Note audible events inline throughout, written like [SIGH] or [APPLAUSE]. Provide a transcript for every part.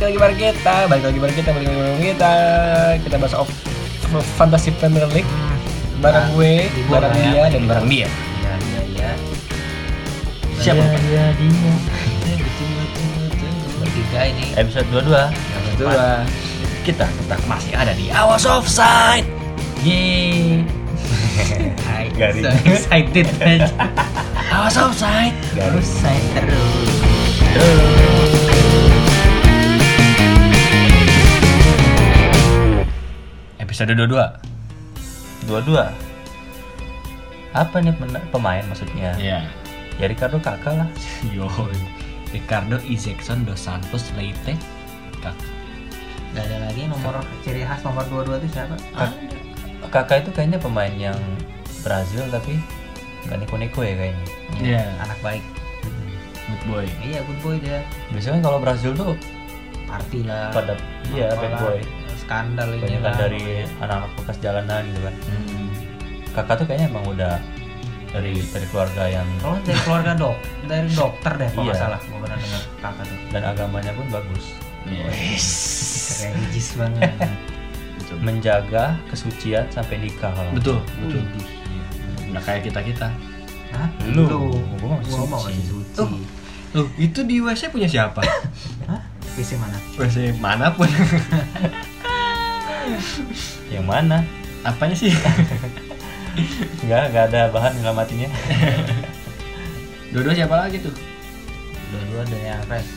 bareng kita, balik lagi bareng kita, balik lagi bareng kita. Kita bahas of Fantasy Premier League Nah, bareng gue, Ibu bareng orang dia, yang- dan bareng dia. Ya, ya, ya. Siapa? Iya, Pak? iya, dia. Bertiga ini. Episode 22. Yang Dua. keempat. Nah, Kita tetap masih ada di Awas Offside. Yeay. Hai, Garing. [LAUGHS] so excited aja. Awas offside. Garing. Offside terus. Episode 22. 22. Apa nih pena- pemain maksudnya? Iya. Ya Ricardo kakak [LAUGHS] lah. Yo. Ricardo Izekson dos Santos Leite. Kak. Gak ada lagi nomor ciri khas nomor 22 itu siapa? Kakak itu kayaknya pemain yang Brazil tapi nggak neko-neko ya kayaknya. Iya. Anak baik. Good boy. Iya, good boy dia. Biasanya kan kalau Brazil tuh Party lah. pada iya bad Apalah, boy. Skandal ini Iya, lah. Kebanyakan ya kan, Hmm. dari anak-anak bekas jalanan gitu kan. Kakak tuh kayaknya emang udah dari dari keluarga yang Kalau Oh, dari keluarga dok, dari dokter deh kalau nggak Iya. salah. Gue pernah dengar kakak tuh. dan agamanya pun bagus. Iya. Yes. Religious [LAUGHS] banget. Menjaga kesucian sampai nikah kalau Betul, Wih, betul. iya. Nggak kayak kita-kita. Hah? Lu, gua mau Gua mau suci. masih suci. Tuh. Loh, itu di WC punya siapa? [LAUGHS] Hah? PC mana? WC manapun. Yang mana? Apanya sih? Enggak, enggak ada bahan ngelamatinya. [LAUGHS] Dua-dua siapa lagi tuh? Dua-dua dari Alves.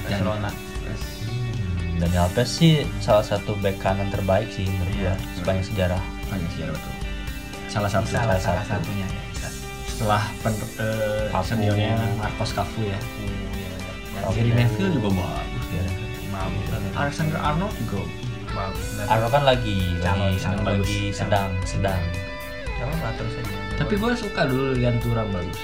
Barcelona. Alves. Dan Alves sih salah satu back kanan terbaik sih menurut Iya. gua sepanjang sejarah. Panjang sejarah betul. Salah satu. Bisa lah salah satu. satunya ya. Bisa. Setelah pen, eh, Cafu. seniornya Marcos Cafu ya. Iya, Cafu. Jadi Neville juga bagus. Ya. Alexander Arnold Go. bagus. Arno kan lagi Calon, lagi calon bagus. Iya. lagi sedang sedang. Kalau nggak terus aja. Tapi gue suka dulu lihat Turam bagus.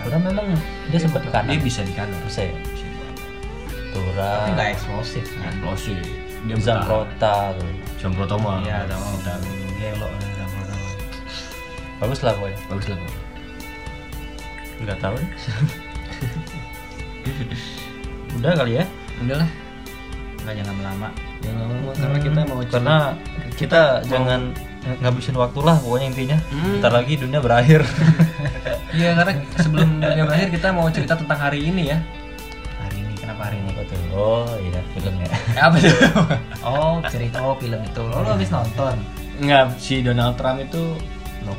Turan memang dia sempat ke kanan. Dia bisa di kanan. bisa ya. tapi Turan, nggak eksplosif kan? Eksplosif. Dia Zamprota tuh. Jambro Toma. Iya, sama udah gelo nih sama sama. Bagus lah boy. Bagus lah. Bro. Enggak tahu. [LAUGHS] Udah kali ya. Udah lah. Nggak jangan lama. Yang lama-lama karena kita mau Hmm. karena kita jangan ngabisin waktu lah pokoknya intinya. Hmm. Ntar lagi dunia berakhir. [LAUGHS] Iya karena sebelum dunia berakhir kita mau cerita tentang hari ini ya. Hari ini kenapa hari ini? Apa tuh? Oh iya film ya. Eh, Apa tuh? Oh cerita oh film itu. Oh, lo habis nonton? Enggak si Donald Trump itu Lo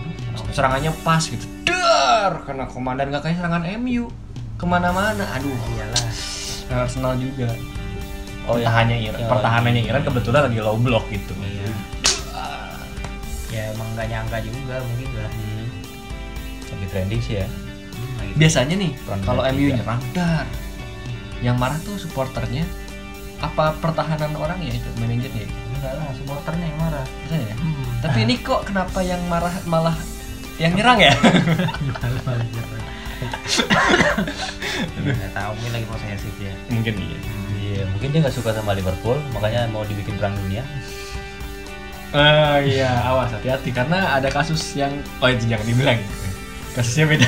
serangannya pas gitu. Dar karena komandan nggak kayak serangan MU kemana-mana. Aduh, iyalah. serangan Arsenal juga. Oh, Oh, iya. yang- pertahanannya Iran, yang- pertahanannya Iran kebetulan lagi low block gitu. Iya. Ya emang nggak nyangka juga mungkin lah. Hmm. Lagi trending sih ya. Hmm, lagi- Biasanya nih Perang kalau dunia MU tiga. nyerang dar. Yang marah tuh supporternya apa pertahanan orang ya itu manajernya ya? Enggak lah supporternya yang marah. Bisa ya? Hmm. Tapi ini kok kenapa yang marah malah yang nyerang ya? ya, Nggak tahu mungkin lagi posesif ya. [LAUGHS] Mungkin iya. Iya, mungkin dia nggak suka sama Liverpool, makanya mau dibikin perang dunia. Eh iya, awas hati-hati karena ada kasus yang oh itu jangan dibilang. Kasusnya [LAUGHS] beda.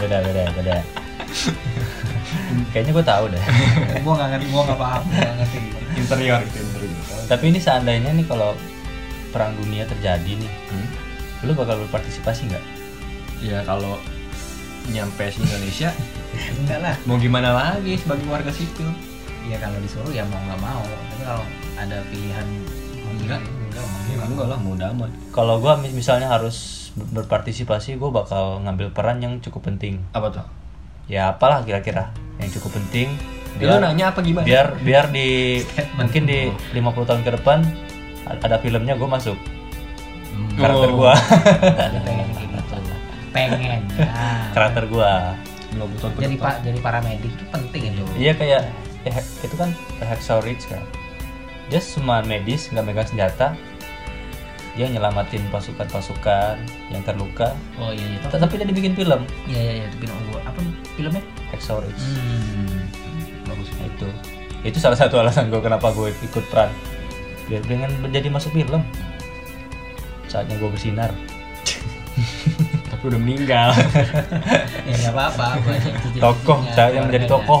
Beda, beda, beda. Kayaknya gue tahu deh. Gue nggak ngerti, gue nggak paham, gue nggak ngerti. interior itu interior. Tapi ini seandainya nih kalau perang dunia terjadi nih, Hmm. lu bakal berpartisipasi nggak? Ya kalau nyampe di Indonesia Enggak lah. mau gimana lagi sebagai warga sipil? Ya kalau disuruh ya mau nggak mau. Tapi kalau ada pilihan Enggak. enggak mau Ya enggak. enggak lah, mau damai. Kalau gua mis- misalnya harus ber- berpartisipasi, gua bakal ngambil peran yang cukup penting. Apa tuh? Ya apalah kira-kira yang cukup penting. Dia Eh, nanya apa gimana? biar biar di Statement. mungkin di 50 tahun ke depan a- ada filmnya gue masuk Hmm. karakter Oh. gua Dia pengen kayak gitu. Pengen. Nah, karakter gua Belum tahun ke jadi depan. pak jadi paramedik itu penting itu. iya kayak eh, itu kan Hacksaw Ridge kan dia cuma medis nggak megang senjata dia nyelamatin pasukan-pasukan yang terluka Oh iya iya. T- tapi dia dibikin film Iya iya iya. Tapi nunggu apa filmnya? Hacksaw Ridge Hmm. Bagus. Nah, itu itu salah satu alasan gue kenapa gue ikut peran biar pengen menjadi masuk film saatnya gue bersinar Tapi udah meninggal. Ya nggak apa-apa. gua aja itu jadi tokoh pentingnya, [LAUGHS] saya yang menjadi keluarganya. tokoh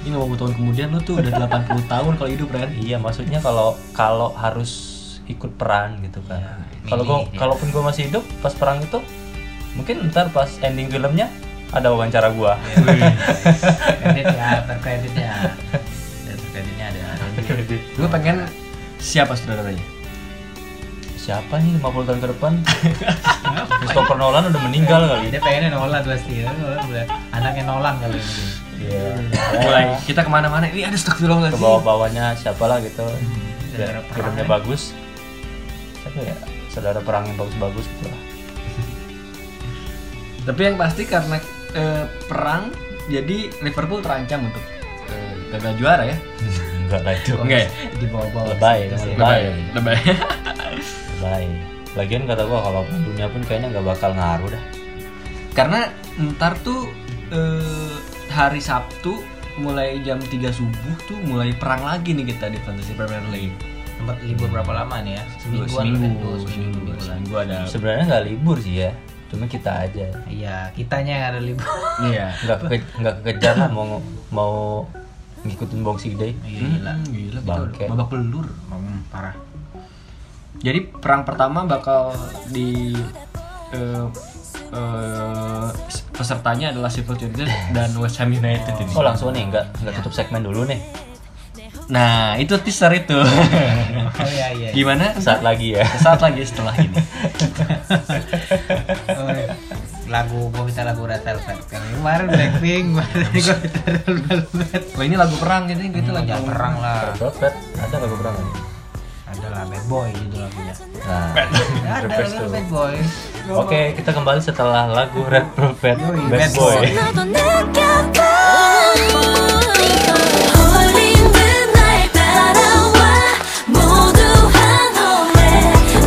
Ini 50 tahun kemudian lu tuh udah 80 tahun kalau hidup Ren. Iya, maksudnya kalau kalau harus ikut perang gitu kan. Iya, kalau gua milih dia. kalaupun gua masih hidup pas perang itu mungkin ntar pas ending filmnya ada wawancara gua. Kredit ya, terkredit ya. Dan terkreditnya ada. Gue pengen siapa saudaranya? Siapa nih 50 tahun ke depan? Christopher Nolan udah meninggal kali. Dia pengennya Nolan pasti. ya. Nolan udah- Anaknya Nolan kali ini. Iya. Mulai kita kemana-mana ini ada Ke astagfirullahaladzim. bawah-bawahnya siapa lah gitu. Saudara Dan perang, Filmnya ya. bagus. Siapa ya? Saudara perang yang bagus-bagus gitu lah. Tapi yang pasti karena eh, perang jadi Liverpool terancam untuk eh, gagal juara ya. Enggak lah itu. Enggak ya? Di bawah-bawah. Lebay, Terus ya. Lebay. Lebay. Bye. Lagian kata gua kalau dunia pun kayaknya nggak bakal ngaruh dah. [LAUGHS] karena ntar tuh eh, hari Sabtu mulai jam 3 subuh tuh mulai perang lagi nih kita di Fantasy Premier League. Tempat libur berapa lama nih ya? Dua Semingguan seminggu, kan? Dua seminggu, seminggu, dua bulan. seminggu ada. Sebenarnya nggak libur sih ya. Cuma kita aja. Iya, kitanya yang ada [LAUGHS] libur. Iya. Nggak keke, nggak kekejar lah mau mau ngikutin Boxing Day. Iya, gila. Gila, Hmm, gila kita Bangke. udah babak pelur. Hmm, parah. Jadi perang pertama bakal di eh, eh, pesertanya adalah Sheffield United dan West Ham United ini. Oh langsung nih nggak nggak tutup segmen dulu nih. Nah, itu teaser [LAUGHS] itu. Oh iya iya. iya. Gimana? Saat lagi ya. Saat lagi setelah ini. Oh, iya. lagu gua minta lagu Rattle Velvet kali ini. kemarin Blackpink kemarin gua minta Rattle Velvet Oh, ini lagu perang gitu, gitu itu lagi lagu perang lah Prophet ada nggak beberapa nih? ada lah bad boy gitu lagunya Nah, ada request lah tuh. bad boy Oke, kita kembali setelah lagu Red Prophet Yoi, Best Bad Boy. Boy. 나도 느껴봐 Holding the night 따라와 모두 한 홀에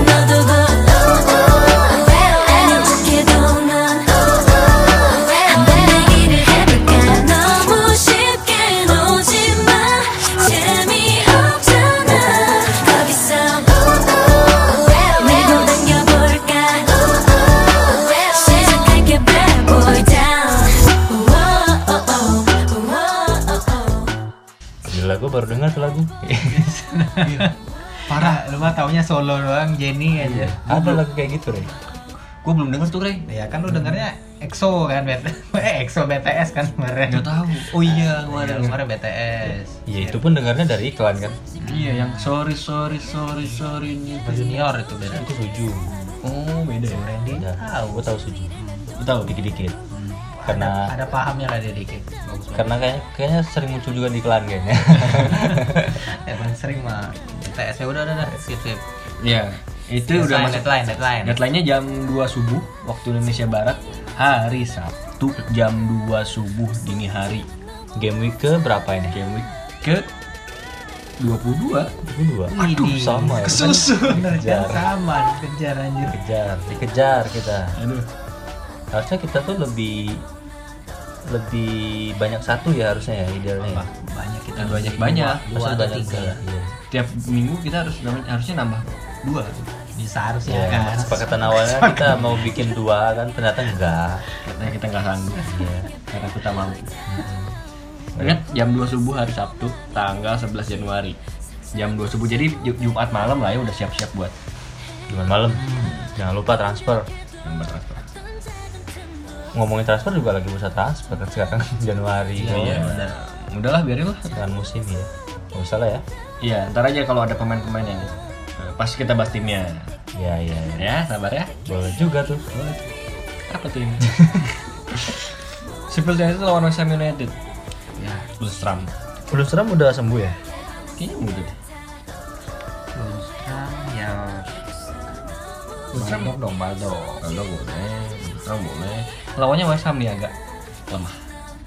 너도 곧 아니 죽게도 난 한번 내기를 해볼까 너무 쉽게 놓지마 재미없잖아 거기서 밀고 당겨볼까 시작할게 bad boy down Gila, gue baru dengar tuh lagu. parah lu mah taunya solo doang Jenny aja ada lagu kayak gitu, Rey. Gue belum denger tuh, Rey. ya kan lu dengernya EXO kan bet [LAUGHS] eh EXO BTS kan kemarin Gak tahu. Oh iya, kemarin kemarin. kemarin BTS Ya itu pun dengarnya dari iklan kan. Iya, yang sorry sorry sorry sorry ini. junior itu beda Itu Suju. Oh, beda ya. Randy Udah, tahu gue tahu Suju. Lu tahu? Dikit-dikit. ada, Karena ada pahamnya lah dia dikit bagus banget karena kayaknya, kayaknya sering muncul juga di iklan kayaknya. emang sering mah BTS ya udah udah udah skip skip Iya. Itu udah Deadline, masuk. deadline deadline Deadline-nya jam 2 subuh waktu Indonesia Barat hari Sabtu jam 2 subuh dini hari. Game week ke berapa ini? Game week ke 22 Kedua. ah. Aduh, sama ya. kesusu. Bener, Kejar. Iya. jangan sama dikejar anjir Kejar, dikejar kita. Aduh. Harusnya kita tuh lebih lebih banyak satu ya harusnya ya idealnya. ya. banyak kita Nah, dua- banyak-banyak. dua, dua Harusnya atau banyak tiga satu, lah iya. Tiap minggu kita harus harusnya nambah dua. bisa harusnya Ya, kan kesepakatan awalnya kita mau bikin dua kan ternyata enggak. Karena kita nggak sanggup. Iya. [LAUGHS] karena kita mampu. Ingat jam 2 subuh hari Sabtu tanggal 11 Januari. Jam 2 subuh jadi Ju- Jumat malam lah ya udah siap-siap buat Gimana malam? Jangan lupa Hmm. transfer. nomor transfer. Ngomongin transfer juga lagi bursa transfer kan sekarang [LAUGHS] Iya, Januari kayaknya. Nah, udahlah biarin lah. Kan musim ya. Gak usah lah ya. Iya, ntar aja kalau ada pemain-pemain yang eh, pasti kita bahas timnya. Ya ya. ya. Ya, sabar ya. Boleh juga tuh. Apa tim? [LAUGHS] Sheffield United lawan West Ham United. Ya, Lustram. Belum seram udah sembuh ya? Kayaknya mudah deh. terus kan ya Lustram dong, Baldo. Baldo boleh, Lustram boleh. Lawannya West Ham nih agak lemah.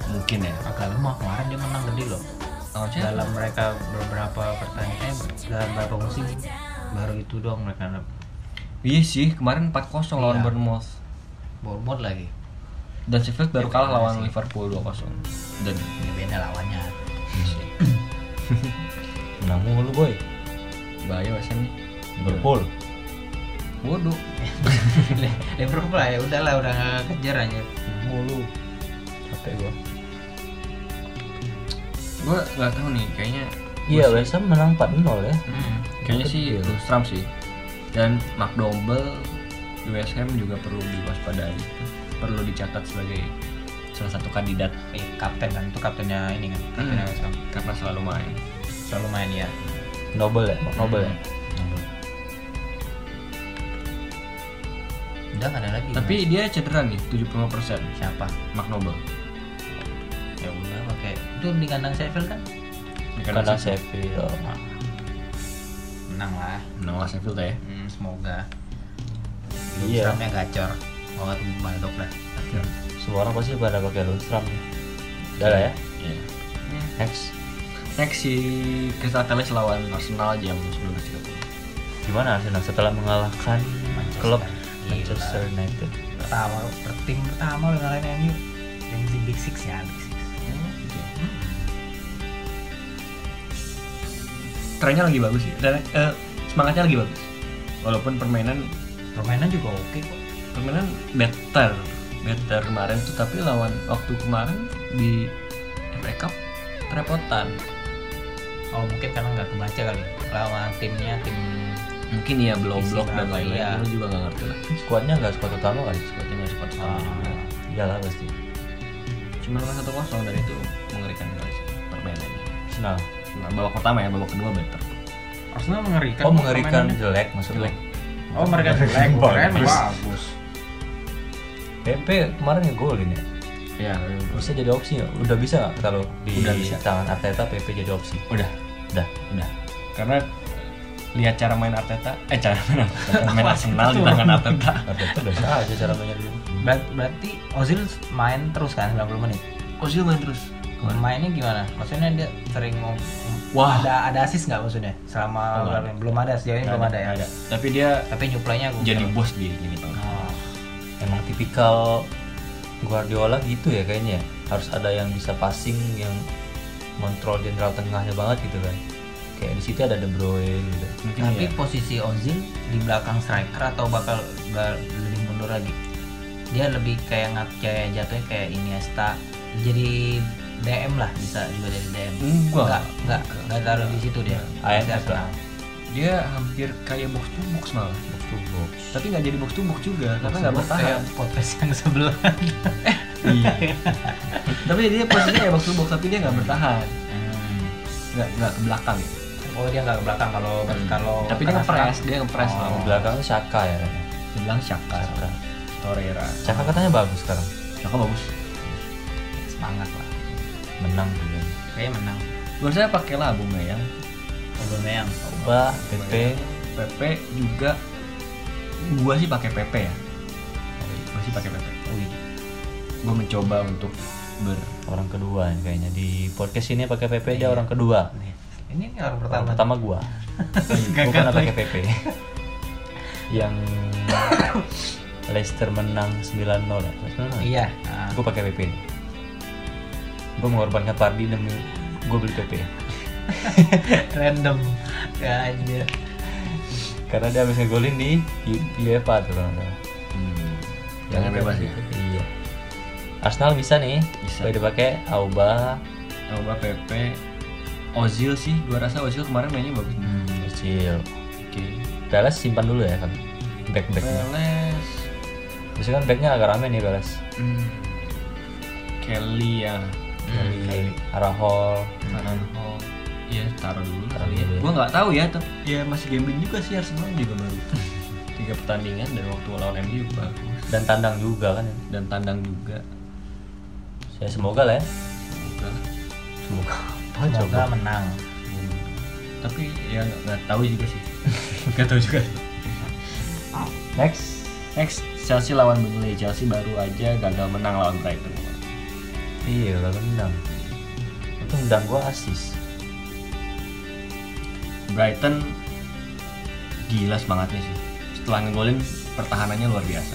Mungkin ya. agak lemah kemarin dia menang gede loh Lawan siapa? dalam mereka beberapa pertandingan eh, dalam beberapa musim baru itu doang mereka dap- Iya sih, kemarin 4-0 lawan Iya. Bournemouth. Bournemouth lagi Dan Sheffield baru kalah lawan Liverpool 2-0. Dan ya beda lawannya Menang mulu boy. bahaya West Ham nih. Liverpool. Bodoh. Liverpool lah ya udahlah udah nggak kejar aja Mulu. Capek gua. gue nggak tahu nih kayaknya Iya, West Ham menang 4-0 ya. hmm, kayaknya sih Iya. Lundstram sih dan McDonald di West Ham juga perlu diwaspadai perlu dicatat sebagai salah satu kandidat Eh, kapten kan itu kaptennya ini kan kaptennya Hmm. West Ham karena selalu main Iya. selalu main ya Noble ya, Noble ya. udah nggak ada lagi tapi dia cedera nih 75% siapa McDonald ya udah pakai itu di kandang Sheffield kan Karena Ah. Sheffield. Nah, menang lah menang lawan Sheffield ya hmm, semoga Iya. Lundstramnya gacor oh itu batok dah gacor Semua orang pasti pada pakai Lundstram. Udah lah ya. Iya. Next. next si Crystal Palace lawan Arsenal jam 19.30 Gimana Arsenal setelah mengalahkan Manchester. klub Gila. Manchester United? pertama per- tim pertama lo ngalahin MU yang si Big Six ya Big Six trennya lagi bagus sih dan eh, semangatnya lagi bagus walaupun permainan permainan juga oke kok permainan better better kemarin tuh tapi lawan waktu kemarin di FA Cup kerepotan oh mungkin karena nggak kebaca kali lawan timnya tim mungkin ya belum Isi blok dan berapa, lain-lain iya. Gua juga nggak ngerti lah Skuadnya nggak skuad utama kali, skuadnya nggak skuad utama. Ah. Iyalah pasti. cuma satu kosong dan itu mengerikan sekali sih permainannya Arsenal. nah, babak pertama ya babak kedua better Arsenal mengerikan Oh mengerikan jelek maksudnya. oh mereka jelek keren bagus PP kemarin ngegolin ya. ya Bisa jadi opsi nggak? Udah bisa nggak kalau di Udah bisa. tangan Arteta PP jadi opsi? udah Udah. udah karena eh, lihat cara main Arteta eh cara main Arteta [LAUGHS] cara main Arsenal di tangan Arteta Arteta udah salah aja cara mainnya dulu. Ber- berarti Ozil main terus kan 90 menit Ozil main terus mainnya gimana maksudnya dia sering mau Wah. ada ada asis nggak maksudnya selama Nggak ada. belum ada sejauh ini belum ada ya ada tapi dia tapi nyuplainya gue jadi bos dia gini tuh oh, Emang tipikal Guardiola gitu ya kayaknya. ya. Harus ada yang bisa passing yang kontrol jenderal tengahnya banget gitu kan. Kayak di situ ada De Bruyne gitu. mungkin tapi ya posisi Ozil di belakang striker atau bakal ba- lebih mundur lagi dia lebih kayak ngat kayak jatuhnya kayak Iniesta jadi DM lah bisa juga dari DM Enggak. nggak nggak nggak taruh di situ dia Ayam Di Arsenal. lah. dia hampir kayak box to box malah Box to box. tapi nggak jadi box to box juga karena nggak Sebelum bertahan kayak podcast yang [LAUGHS] Hmm. sebelah Iya. tapi dia posisinya kayak box to box tapi dia nggak bertahan nggak nggak ke belakang ya oh dia nggak ke belakang kalau kalau Hmm. tapi dia ngepres dia ngepres Oh. lah Di belakang tuh Saka ya kan. dia bilang Shaka Saka. Torreira Saka katanya bagus sekarang. Shaka bagus semangat lah Menang juga. kayaknya menang gue saya pakai lah bunga ya Aubameyang Coba PP PP juga gua sih pakai PP ya gua sih pakai PP Wih, gua mencoba untuk ber orang kedua nih kayaknya di podcast ini pakai PP dia orang kedua. ini orang Orang pertama pertama gua. gua pernah pakai PP. Yang Leicester menang 9-0 ya. 9-0. iya Ah. nah, Gue pakai PP. Gue mengorbankan Pardi demi gue beli PP. random ya anjir Karena dia habis ngegolin di U- UEFA tuh kalau nggak salah. Hmm. jangan Yang bebas ya Iya. Arsenal bisa nih. Bisa. Bisa. pakai Auba, coba PP Ozil sih gua rasa Ozil kemarin mainnya bagus kecil. oke Palace simpan dulu ya kan. Back Iya. backnya. Peles Biasanya kan backnya agak rame nih Palace. hmm, Kelly ya iya. Dari Arahol. Taruh ya taruh dulu Taruh kali ya. dulu ya. Gua nggak tahu ya, tapi ya masih gambling juga sih Arsenal juga baru [LAUGHS] tiga pertandingan dan waktu lawan MU bagus dan tandang juga kan. dan tandang juga. Ya semoga lah ya. Semoga lah. Semoga. Apa Oh, coba? semoga menang Hmm. Tapi ya nggak- nggak tahu juga sih. [LAUGHS] Nggak tahu juga. Next. Next Chelsea lawan Burnley. Chelsea baru aja gagal menang lawan Brighton. Iya lah tendang. Itu tendang gua asis. Brighton gila semangatnya sih. Setelah ngegolin pertahanannya luar biasa.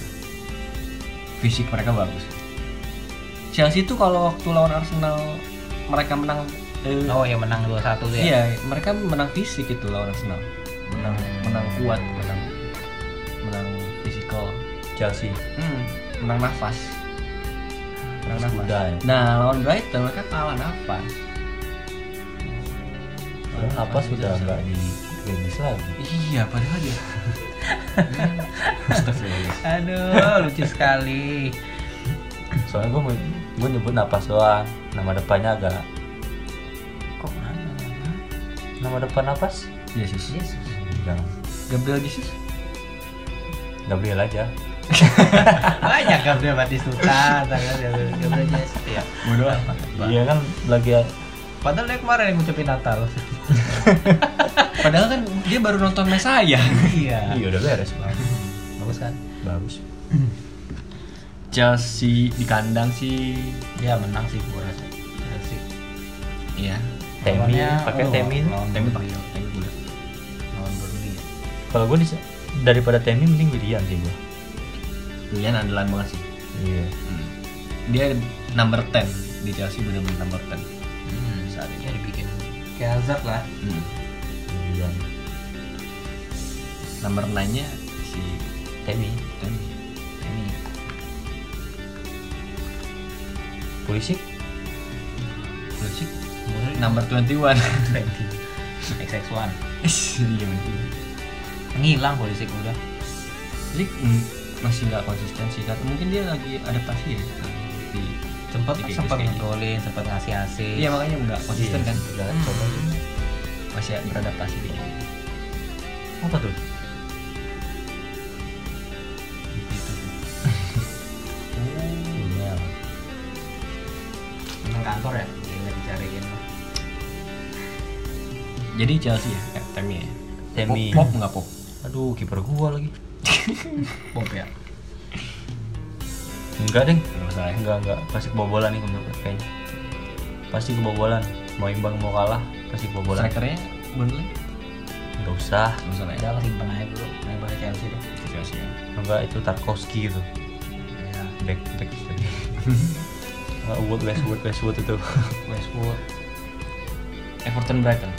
Fisik mereka bagus. Chelsea itu kalau waktu lawan Arsenal mereka menang eh, oh yang menang 2-1 tuh ya Iya, mereka menang fisik itu lawan Arsenal. Menang Hmm. menang kuat, menang menang fisikal. Chelsea. Hmm, menang nafas. Menang Kuda ya. Nah, lawan Brighton mereka kalah nafas. Dan napas sudah nggak di Gremis lagi. Iya, padahal dia. Astagfirullah. Aduh, lucu sekali. Soalnya gue gue nyebut napas doang. Nama depannya agak Kok mana? nama depan napas? Yesus. Yesus. Jangan Gabriel Jesus. Gabriel aja. Banyak Gabriel Batistuta, tanggal Gabriel Gabriel Yesus ya. Bodoh apa? Iya kan lagi Padahal dia kemarin yang ngucapin Natal. [LAUGHS] Padahal kan dia baru nonton mes saya. iya. iya udah beres bang. Bagus kan? Bagus. Chelsea di kandang sih. Dia Iya, menang sih gua rasa. Chelsea. Iya. Temi Lawannya- pakai oh, Temi. lawan Tapi Burnley. pakai tapi boleh. Lawan Burnley. ya. Kalau gue daripada Temi mending William sih gue. Willian andalan banget sih. Iya. Hmm. Dia number 10 di Chelsea benar-benar number 10. Hmm, seandainya dibikin kayak Hazard lah. Hmm. William. Number 9-nya si Temi. Temi. Ini Pulisic. Pulisic umurnya Iya. number 21. 20. XX1. [LAUGHS] Ish, iya betul. Ngilang polisi udah. Jadi mm, masih nggak konsisten sih. Kan mungkin dia lagi adaptasi ya. Di, Sempat di Inggris sempat kayaknya. ngegolin, sempat ngasih asis. Iya makanya nggak konsisten Iya, kan. udah coba sih. Masih beradaptasi dia. Apa tuh? Gitu. Iya. Emang kantor ya? Gila dicariin. Jadi Chelsea ya, eh, Temi ya. Temi. Pop, pop nggak pop? Aduh, kiper gua lagi. Bob ya. Enggak, Deng. Nggak masalah ya. Enggak, enggak. Pasti kebobolan nih menurut gue kayaknya. Pasti kebobolan. Mau imbang mau kalah, pasti kebobolan. Strikernya Burnley? Enggak usah. Nggak masalah ya. Udah lah simpen aja dulu. Main pakai Chelsea deh. Chelsea ya. Enggak itu Tarkowski itu. Ya. Back back. [LAUGHS] Enggak Wood Westwood Westwood itu. Westwood. Everton Brighton.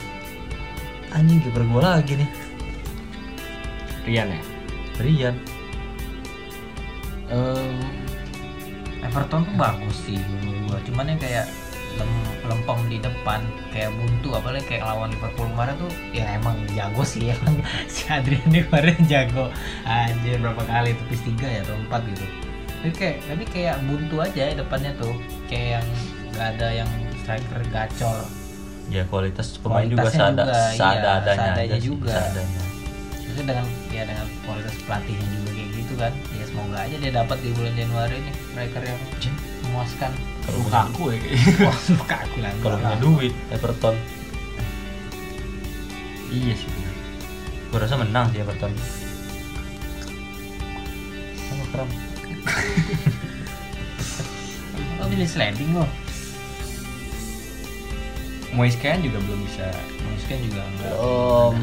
[LAUGHS] Anjing kiper gua lagi nih. Rian ya. Rian. Em, Everton tuh bagus sih menurut gua. Cuman yang kayak lem, lempem di depan kayak buntu apalagi kayak lawan Liverpool kemarin tuh ya emang jago sih [LAUGHS] emang si Adrian dia kemarin jago anjir berapa kali itu pis tiga ya atau empat gitu tapi kayak tapi kayak buntu aja ya depannya tuh kayak yang nggak ada yang striker gacor Ya kualitas pemain juga Kualitasnya seada juga, iya, seada-adanya seadanya aja sih, juga. seadanya. itu dengan ya dengan kualitas pelatihnya juga kayak gitu kan ya semoga aja dia dapat di bulan Januari nih striker yang memuaskan Kalau luka punya- aku ya. Wah, luka aku lah Kalau punya duit Everton, iya sih. benar. gua rasa menang sih Everton. Sama kram. Oh, milih sliding loh. Moise Kean juga belum bisa. Moise kan juga enggak. Belum.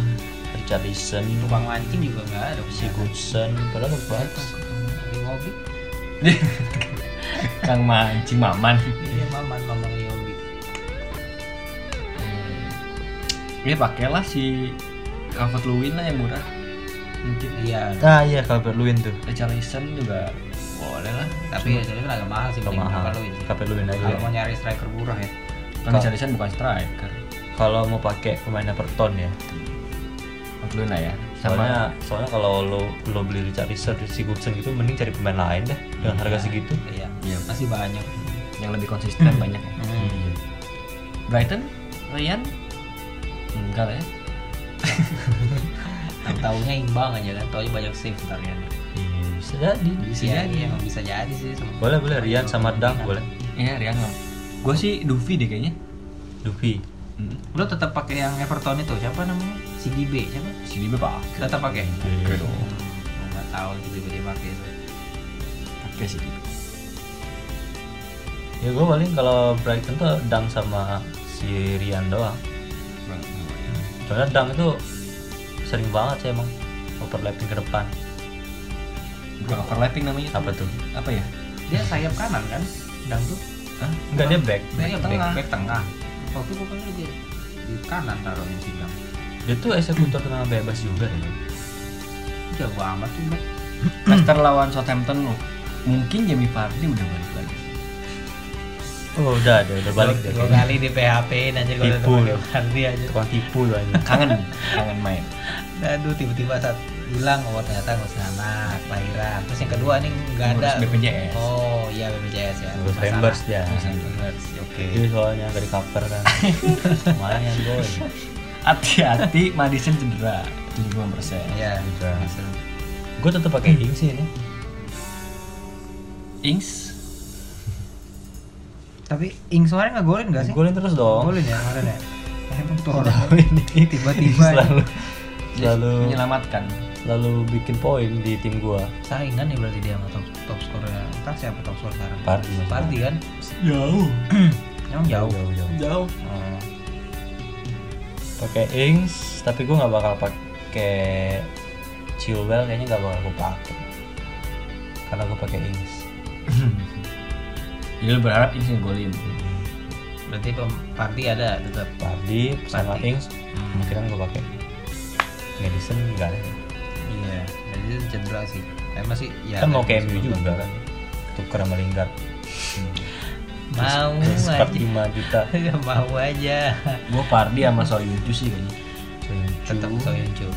Richarlison, Tukang mancing juga enggak ada. Iya. Sigurdsson, padahal bagus banget. Yogi. [LAUGHS] Kang mancing maman. Iya, Maman, Maman Yogi. Ini Ya, pakailah si Calvert Lewin lah yang murah. Mungkin Iya. Ah iya Calvert Lewin tuh. Richarlison juga boleh lah. Tapi ya jadi kan agak mahal sih Agak mending mahal. Calvert Lewin sih. Iya, Calvert Lewin aja. Kalau mau nyari striker murah ya. Kan Richarlison bukan striker. Kalau mau pakai pemain Everton ya. Calvert Lewin lah ya. Sama Soalnya soalnya kalau lo lo beli Richarlison, Sigurdsson gitu mending cari pemain lain deh dengan harga segitu. Iya. Iya. Masih banyak. yang lebih [CLEARS THROAT] konsisten banyak. ya. Iya. Brighton, Rian, enggak lah ya. Tahu tahunya imbang aja kan. Tahunya banyak save ntar ya. Iya, bisa jadi. Bisa Iya, jadi iya. emang bisa jadi sih. semua. Boleh boleh Rian sama Dang boleh. Iya Rian lah. Gue sih Duvi deh kayaknya. Dupi. Hmm. Lo tetap pakai yang Everton itu siapa namanya? Si Gibe siapa? Sini bapak. Tetap pakai. Iya. Hmm, Enggak tahu tiba-tiba dia pakai itu. Oke sih. Ya gue paling kalau Brighton tuh Dang sama si Rian doang. ya. Soalnya Dang itu sering banget sih emang overlapping ke depan. Bukan overlapping namanya. Apa tuh? Apa ya? Dia sayap kanan kan? Dang tuh Hah? Enggak dia back. Back, Back tengah. tengah. Back tengah. Waktu bukan di di kanan taruhnya sih bang. Dia tuh eksekutor tendangan bebas juga ya. Jago amat tuh back. Hmm. Leicester lawan Southampton loh. Mungkin Jamie Vardy udah balik lagi. Oh, udah deh, udah balik deh. dua kayaknya. kali di PHP aja kalau Tipu teman lu. Fandi aja Tukang tipu lu aja. kangen kangen main aduh tiba-tiba saat hilang oh ternyata nggak usah anak lahiran terus yang kedua nih nggak ada Ngurus BPJS. oh iya BPJS ya Ngurus Iya. Masalah. Rembers dia. Ngurus Rembers, oke Jadi soalnya nggak di cover [LAUGHS] kan. Lumayan boy. hati-hati Madison cedera 75 persen ya Udah. Gue tetap pakai ink sih ini. Ings tapi ing suara nggak golin nggak sih Golin terus dong. Kan? golin ya kemarin ya [LAUGHS] emang tuh orang Selalu ini Tiba-tiba. ya. selalu selalu menyelamatkan selalu bikin poin di tim gua. saingan nih berarti dia sama top top skornya entah siapa top skor sekarang Pardi. Pardi kan jauh emang jauh jauh, jauh. jauh Oh. pakai Ings tapi gue nggak bakal pakai Chilwell kayaknya nggak bakal gue pakai karena gue pakai Ings jadi Ya, lu berharap Ings ngegolin berarti pem- Pardi ada tetap Pardi sama Pardi. Ings kemungkinan gue pakai Madison nggak ada iya jadi itu cedera sih eh, masih ya kan mau tapi ke MU sebelum- juga kan tuker sama [LAUGHS] Lingard [LAUGHS] [LAUGHS] mau sekat aja [LAUGHS] 5 [LAUGHS] juta Nggak mau aja gue Pardi sama Soyuncu sih kayaknya tetap Soyuncu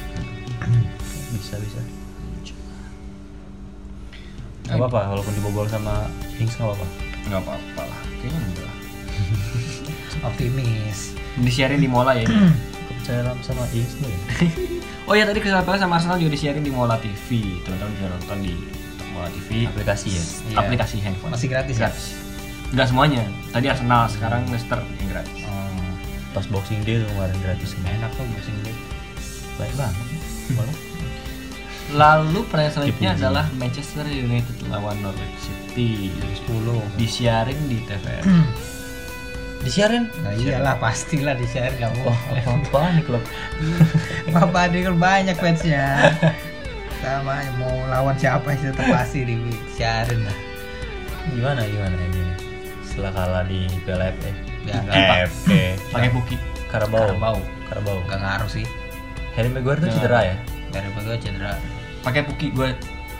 bisa bisa nggak apa-apa walaupun dibobol sama Ings nggak apa-apa nggak apa-apa lah kayaknya enggak lah [CLEARS THROAT] optimis disiarin di Mola ya ini. kepercayaan sama ya. Ings [LAUGHS] nih oh ya tadi Crystal Palace sama Arsenal juga disiarin di Mola TV teman-teman bisa nonton di Mola TV aplikasi ya Iya. aplikasi handphone masih gratis ya gratis nggak semuanya tadi Arsenal sekarang Leicester yang gratis Hmm. Oh, pas Boxing Day tuh kemarin gratis semua enak tuh boxing day baik banget Boleh. Lalu pertandingan selanjutnya Dipuji. adalah Manchester United lawan Norwich City. 10 Disiarin di TVR. [LAUGHS] disiarin Nah, iyalah pastilah di share kamu. [LAUGHS] Wah, [LAUGHS] apa-apaan nih klub? Papa Adi kan banyak [LAUGHS] fansnya. Sama mau lawan siapa sih tetap pasti di sharein lah. Gimana gimana ini? Setelah kalah di Piala FA. Ya, Eh. nggak apa- FA. Eh, Pakai buki. Oh. Karabau. Karabau. Karabau. nggak ngaruh sih. Harry Maguire tuh Nggak. cedera ya? Dari gue cedera. Pakai buki gue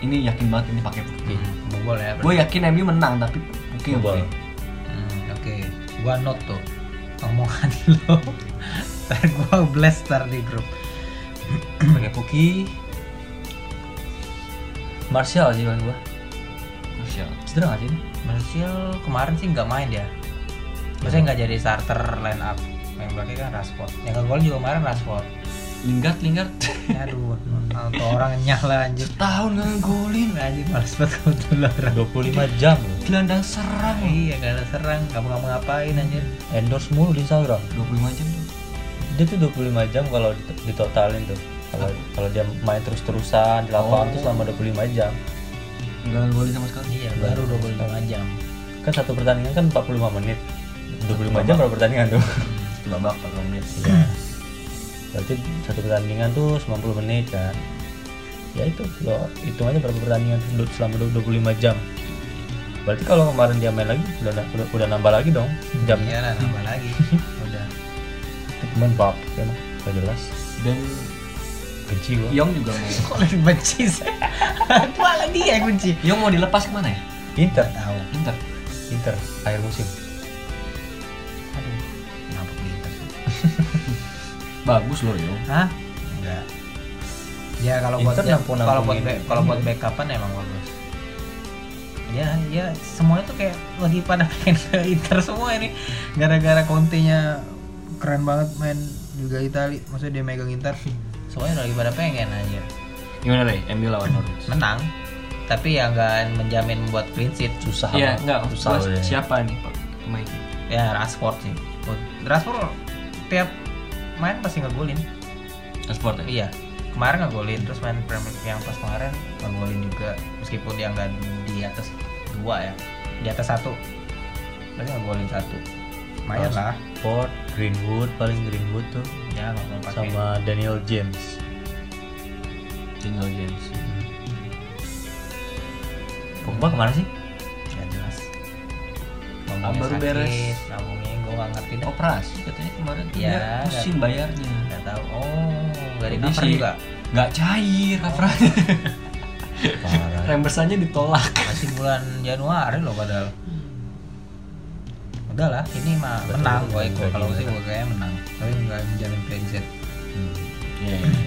ini yakin banget ini pakai buki. Hmm, Bobol ya. Gue yakin MU menang tapi buki yang Bobol. pakai. Hmm, Oke, gua note tuh omongan [LAUGHS] lo. Ntar gua blast ntar di grup. Pakai Puki. Martial sih kan gua. Martial. Cedera nggak sih? ini? Martial kemarin sih nggak main ya. Maksudnya nggak jadi starter line up. Yang belakang kan Rashford. Yang ngegol juga kemarin Rashford. Lingard Lingard [LAUGHS] Aduh, nonton orang nyala anjir. tahun ngegolin Anjir males banget kalau tuh orang. 25 jam loh. gelandang serang. Iya, gak ada serang, kamu ngapa ngapain anjir. Endorse mulu di Instagram. 25 jam tuh. Dia tuh 25 jam kalau dit- ditotalin tuh. Kalau kalau dia main terus-terusan di lapangan tuh selama 25 jam. Enggak ngegolin sama sekali. Iya, baru 25 jam. Kan satu pertandingan kan 45 menit. 25 jam berapa pertandingan tuh? Iya. Satu babak 40 menit. berarti satu pertandingan tuh 90 menit kan ya itu lo hitung aja berapa pertandingan tuh selama 25 jam berarti kalau kemarin dia main lagi udah udah, udah nambah lagi dong jam Iya lah, nambah lagi. Udah. Iya. itu cuman bab ya mah gak jelas Dan benci gua Yong juga mau. Kok lebih benci sih? [LAUGHS] Malah dia yang benci. Yong mau dilepas kemana ya? Inter Tahu. Inter. Inter akhir musim Aduh, kenapa pinter sih? Bagus loh Yong. Hah? Enggak. Ya kalau buat Inter ya, nampung- kalau buat nampungin. back- kalau buat backupan emang bagus. Ya, ya semuanya tuh kayak lagi pada pengen ke Inter semua ini gara-gara Conte-nya keren banget main juga Itali, maksudnya dia megang Inter. Semuanya lagi pada pengen aja. Gimana deh? MU lawan Norwich. Menang. Tapi ya nggak menjamin buat clean sheet. susah Iya, banget. enggak. susah Gua ya. siapa nih Pak? Pemainnya. Ya Rashford sih. Rashford tiap main pasti ngegolin. Transport ya? Iya. Kemarin ngegolin terus main Premier League yang pas kemarin ngegolin juga meskipun dia nggak di atas dua ya, di atas satu. Tapi ngegolin satu. Lumayan Terus lah. Ford Greenwood paling Greenwood tuh Ya nggak mau pakai. sama Daniel James Tinggal James Pogba kemana sih Nggak Ya, jelas. Ah, Ngomongnya baru sakit, beres. Oh. Ngomongnya gue nggak ngerti deh. Operasi katanya kemarin Iya, Iya pusing bayarnya Nggak tahu. Oh, nggak di Jadi cover sih- juga. Nggak cair [LAUGHS] coverannya Parah. Rembersannya ditolak Masih bulan Januari loh padahal. udahlah ini mah Betul, menang betul, gue ikut betul, kalau betul. sih gue kayaknya menang tapi nggak menjamin Brexit Hmm. Iya, iya, iya.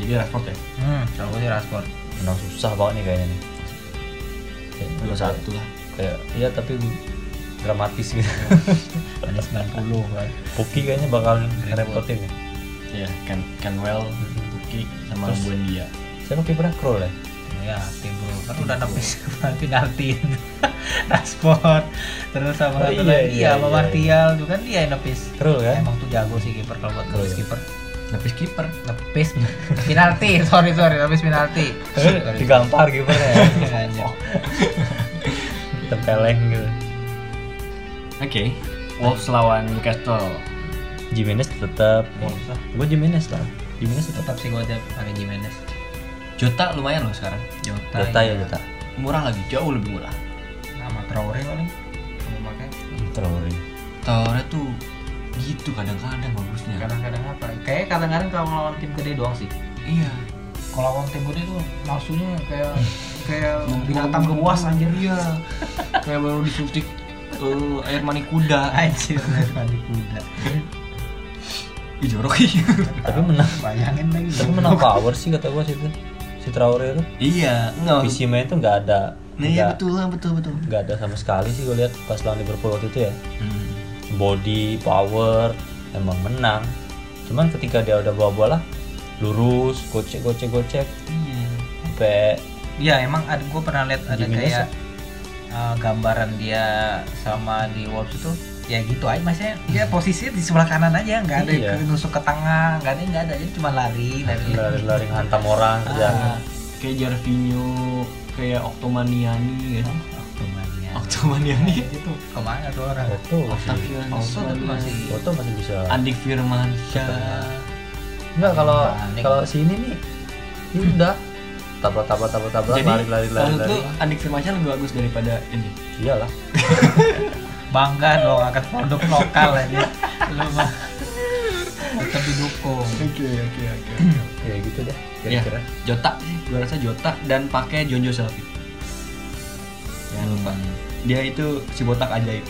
Jadi Rashford ya? hmm kalau gue sih Rashford Menang susah banget nih kayaknya nih. Kayak Nomor kayak- satu lah. Kayak iya tapi dramatis [LAUGHS] gitu. ada 90 kan Puki kayaknya bakal Repot. ngerepotin ya. Iya, Can Canwell, Buki, sama Terus- Buendia. Siapa kipernya Kroll ya? ya tim bro kan udah [LAUGHS] nepis penalti Rashford terus sama Oh, satu iya, lagi iya, ya sama iya, Martial tuh kan dia yang nepis Kroll kan? [LAUGHS] emang tuh jago sih kiper kalau buat Betul, nepis ya. kiper Tapi kiper. nepis [LAUGHS] penalti sorry sorry nepis Eh, penalti Iya, Tapi digampar kipernya ya. Anjir. Tempeleng gitu. Oke. Wolves lawan Newcastle. Jimenez tetap. Wolves lah. Gue Jimenez lah. Jimenez tetap. tetap sih gue ada pakai Jimenez Jota lumayan loh sekarang. Jota iya. Jota ya Jota. Murah lagi, jauh lebih murah. sama Traore paling kamu pakai Iya. Traore. Traore tuh gitu kadang-kadang bagusnya. kadang-kadang apa kayak kadang-kadang kalau lawan tim gede doang sih Iya. kalau lawan tim gede tuh langsungnya kayak [LAUGHS] kayak Membuang- binatang kebuas anjir Iya. [LAUGHS] Kayak baru disuntik eh, air mani kuda. anjir mandi kuda Ih jorok [LAUGHS] ih. Tapi menang. bayangin lagi Tapi menang power sih kata gue sih itu. Si Traore itu. iya, enggak. Visi main tuh nggak ada. Nah, iya nggak- betul, betul, betul. nggak ada sama sekali sih gue lihat pas lawan Liverpool waktu itu ya Hmm. body power emang menang cuman ketika dia udah bawa bola lurus gocek gocek gocek Iya. sampai iya emang ada gue pernah lihat ada Jimenez kayak uh, gambaran dia sama di Wolves itu ya gitu aja maksudnya dia posisinya di sebelah kanan aja nggak ada Iya. yang nusuk ke tengah nggak ada nggak ada jadi cuma lari lari lari Ya. lari hantam orang Ah, kerjaan Kayak Jarvinho, kayak Octomaniani kan. Octomania. Octomaniani. itu gitu. kemana tuh orang foto masih Octo tapi masih foto masih bisa Hmm, Andik Eh, Firmansyah. enggak kalau Aneh. kalau sini nih ya udah tabrak tabrak tabrak tabrak lari lari lari maksud lari lu Andik Firmansyah lebih bagus daripada ini. iyalah bangga dong akan produk lokal aja lu mah tetap didukung Oke oke oke. ya gitu deh Ya, kira-kira Jota sih, gua rasa Jota dan pakai Jonjo Selfie. Jangan lupa. Hmm. Dia itu si botak ajaib.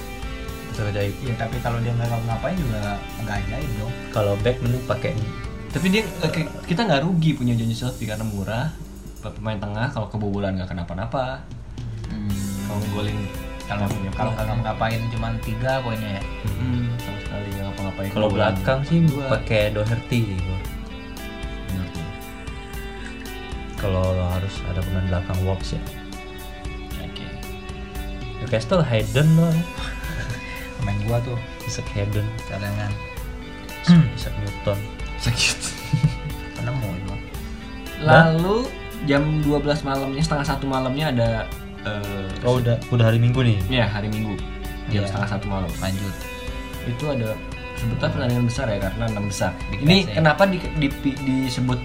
bisa ajaib ya tapi kalau dia nggak ngapain juga nggak ajaib dong kalau back mending pakai ini. Tapi dia oke, kita nggak rugi punya Jonjo Selfie karena murah. Pemain tengah kalau kebobolan nggak kenapa-napa. Kalau golin kalau kalau nggak ngapain cuman tiga poinnya ya Mm-mm, Hmm, sama sekali nggak ngapa-ngapain. kalau Kebobolan. belakang sih Dua. pakai Doherty sih gua. Bener tuh. kalau harus ada pemain belakang Wolves ya Oke. Newcastle Hayden loh main gua tuh Isaac Hayden cadangan Isaac Newton Sakit. penemu itu Lalu jam 12 malamnya setengah satu malamnya ada eh, oh udah udah hari Minggu nih Ya hari Minggu jam Iya. setengah satu malam lanjut itu ada sebutnya pertandingan besar ya karena enam besar. Big Ini match ya. kenapa di, di- disebut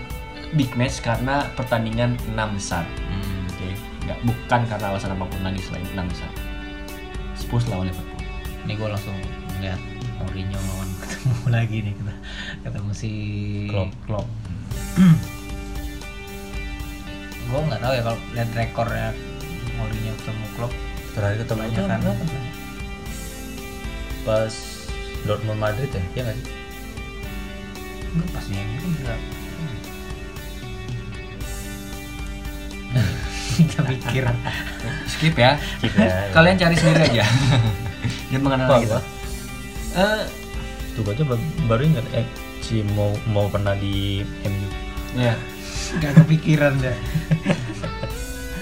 big match karena pertandingan enam besar. Hmm, Oke, nggak bukan karena alasan apapun lagi selain enam besar. Spurs lawan Liverpool. ini gua langsung melihat Mourinho lawan [LAUGHS] ketemu lagi nih kita ketemu si Klopp Klopp gua nggak tahu ya kalau lihat rekornya Mourinho ketemu Klopp ya kan? terakhir ketemu itu Kebanyakan. apa? pas Dortmund Madrid ya ya nggak sih Lu pas nih kan juga [LAUGHS] kita pikir Skip ya. Iya, kita Kalian cari sendiri [LAUGHS] aja. Dia mengenal Apa, kita. apa? Eh, tuh aja ba- baru ingat eh si mau mau pernah di MU ya. gak kepikiran deh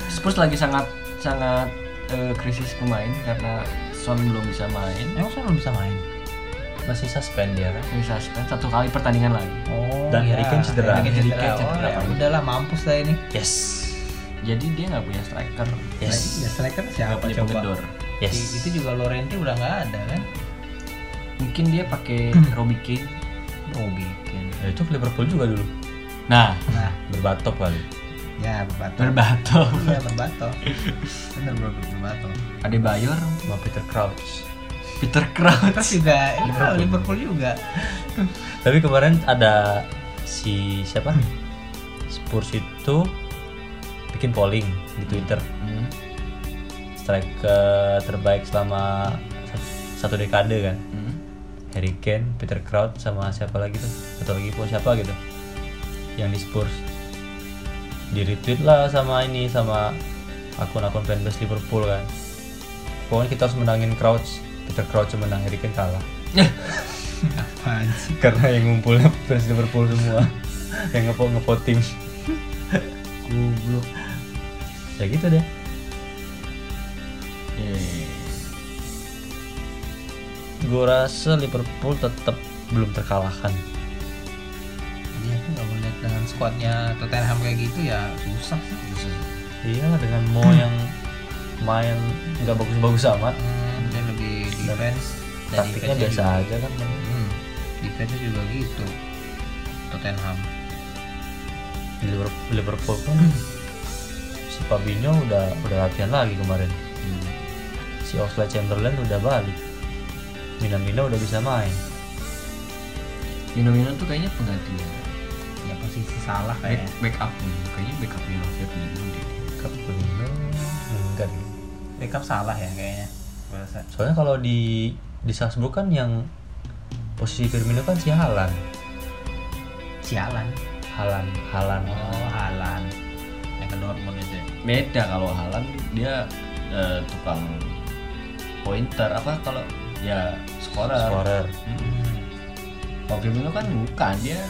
Spurs lagi sangat sangat eh, krisis pemain karena Son belum bisa main. emang Son belum bisa main masih suspend dia kan Ini suspend satu kali pertandingan lagi. oh Dan iya. Harry Kane cedera. Harry Kane Harry cedera, Kane cedera. Oh, ya udahlah mampus lah ini yes Jadi dia nggak punya striker. Nah, Berarti ya yes striker Nggak siapa punya coba pengedor. yes I- itu juga Lorente udah nggak ada kan Mungkin dia pakai Robbie Kane. Robbie Kane. Ya, itu Liverpool juga dulu Nah, nah berbatok kali ya berbato berbato. ya berbato bener bro berbato Ada Bayor, sama Peter Crouch Peter Crouch. terus juga ya, Liverpool juga Tapi kemarin ada si siapa? Spurs itu bikin polling di Twitter. Striker terbaik selama satu dekade kan Hmm. Harry Kane, Peter Crouch sama siapa lagi tuh atau lagi pun siapa gitu yang di Spurs di retweet lah sama ini sama akun-akun fanbase Liverpool kan pokoknya kita harus menangin Crouch Peter Crouch menang Harry Kane kalah Ya, Apaan sih? karena yang ngumpulnya [LAUGHS] fans Liverpool semua yang ngepo ngepo tim Goblok. ya gitu deh Iya, iya, iya. gue rasa Liverpool tetap belum terkalahkan Jadi aku nggak melihat dengan squadnya Tottenham kayak gitu ya susah sih. iya dengan Mo yang main nggak bagus-bagus amat Hmm, dia lebih defense. dan defense-nya taktiknya biasa juga- aja kan Hmm, defense juga gitu. Tottenham. di Liver- Liverpool pun si Fabinho udah udah latihan lagi kemarin si Oxlade Chamberlain udah balik Minamino udah bisa main Minamino tuh kayaknya penggantinya. Ya posisi salah Back, kayaknya. backup nih. kayaknya backup Mino Firmino deh. Firmino enggak deh. Backup salah ya kayaknya. Bahasa. soalnya kalau di di Salzburg kan yang posisi Firmino kan si Halan Sialan. Halan Halan Oh, Halan. Yang ke Dortmund itu. ya. Beda kalau Halan dia eh, tukang pointer apa kalau ya scorer. scorer Mm-mm. Hmm, Kalau Firmino kan bukan dia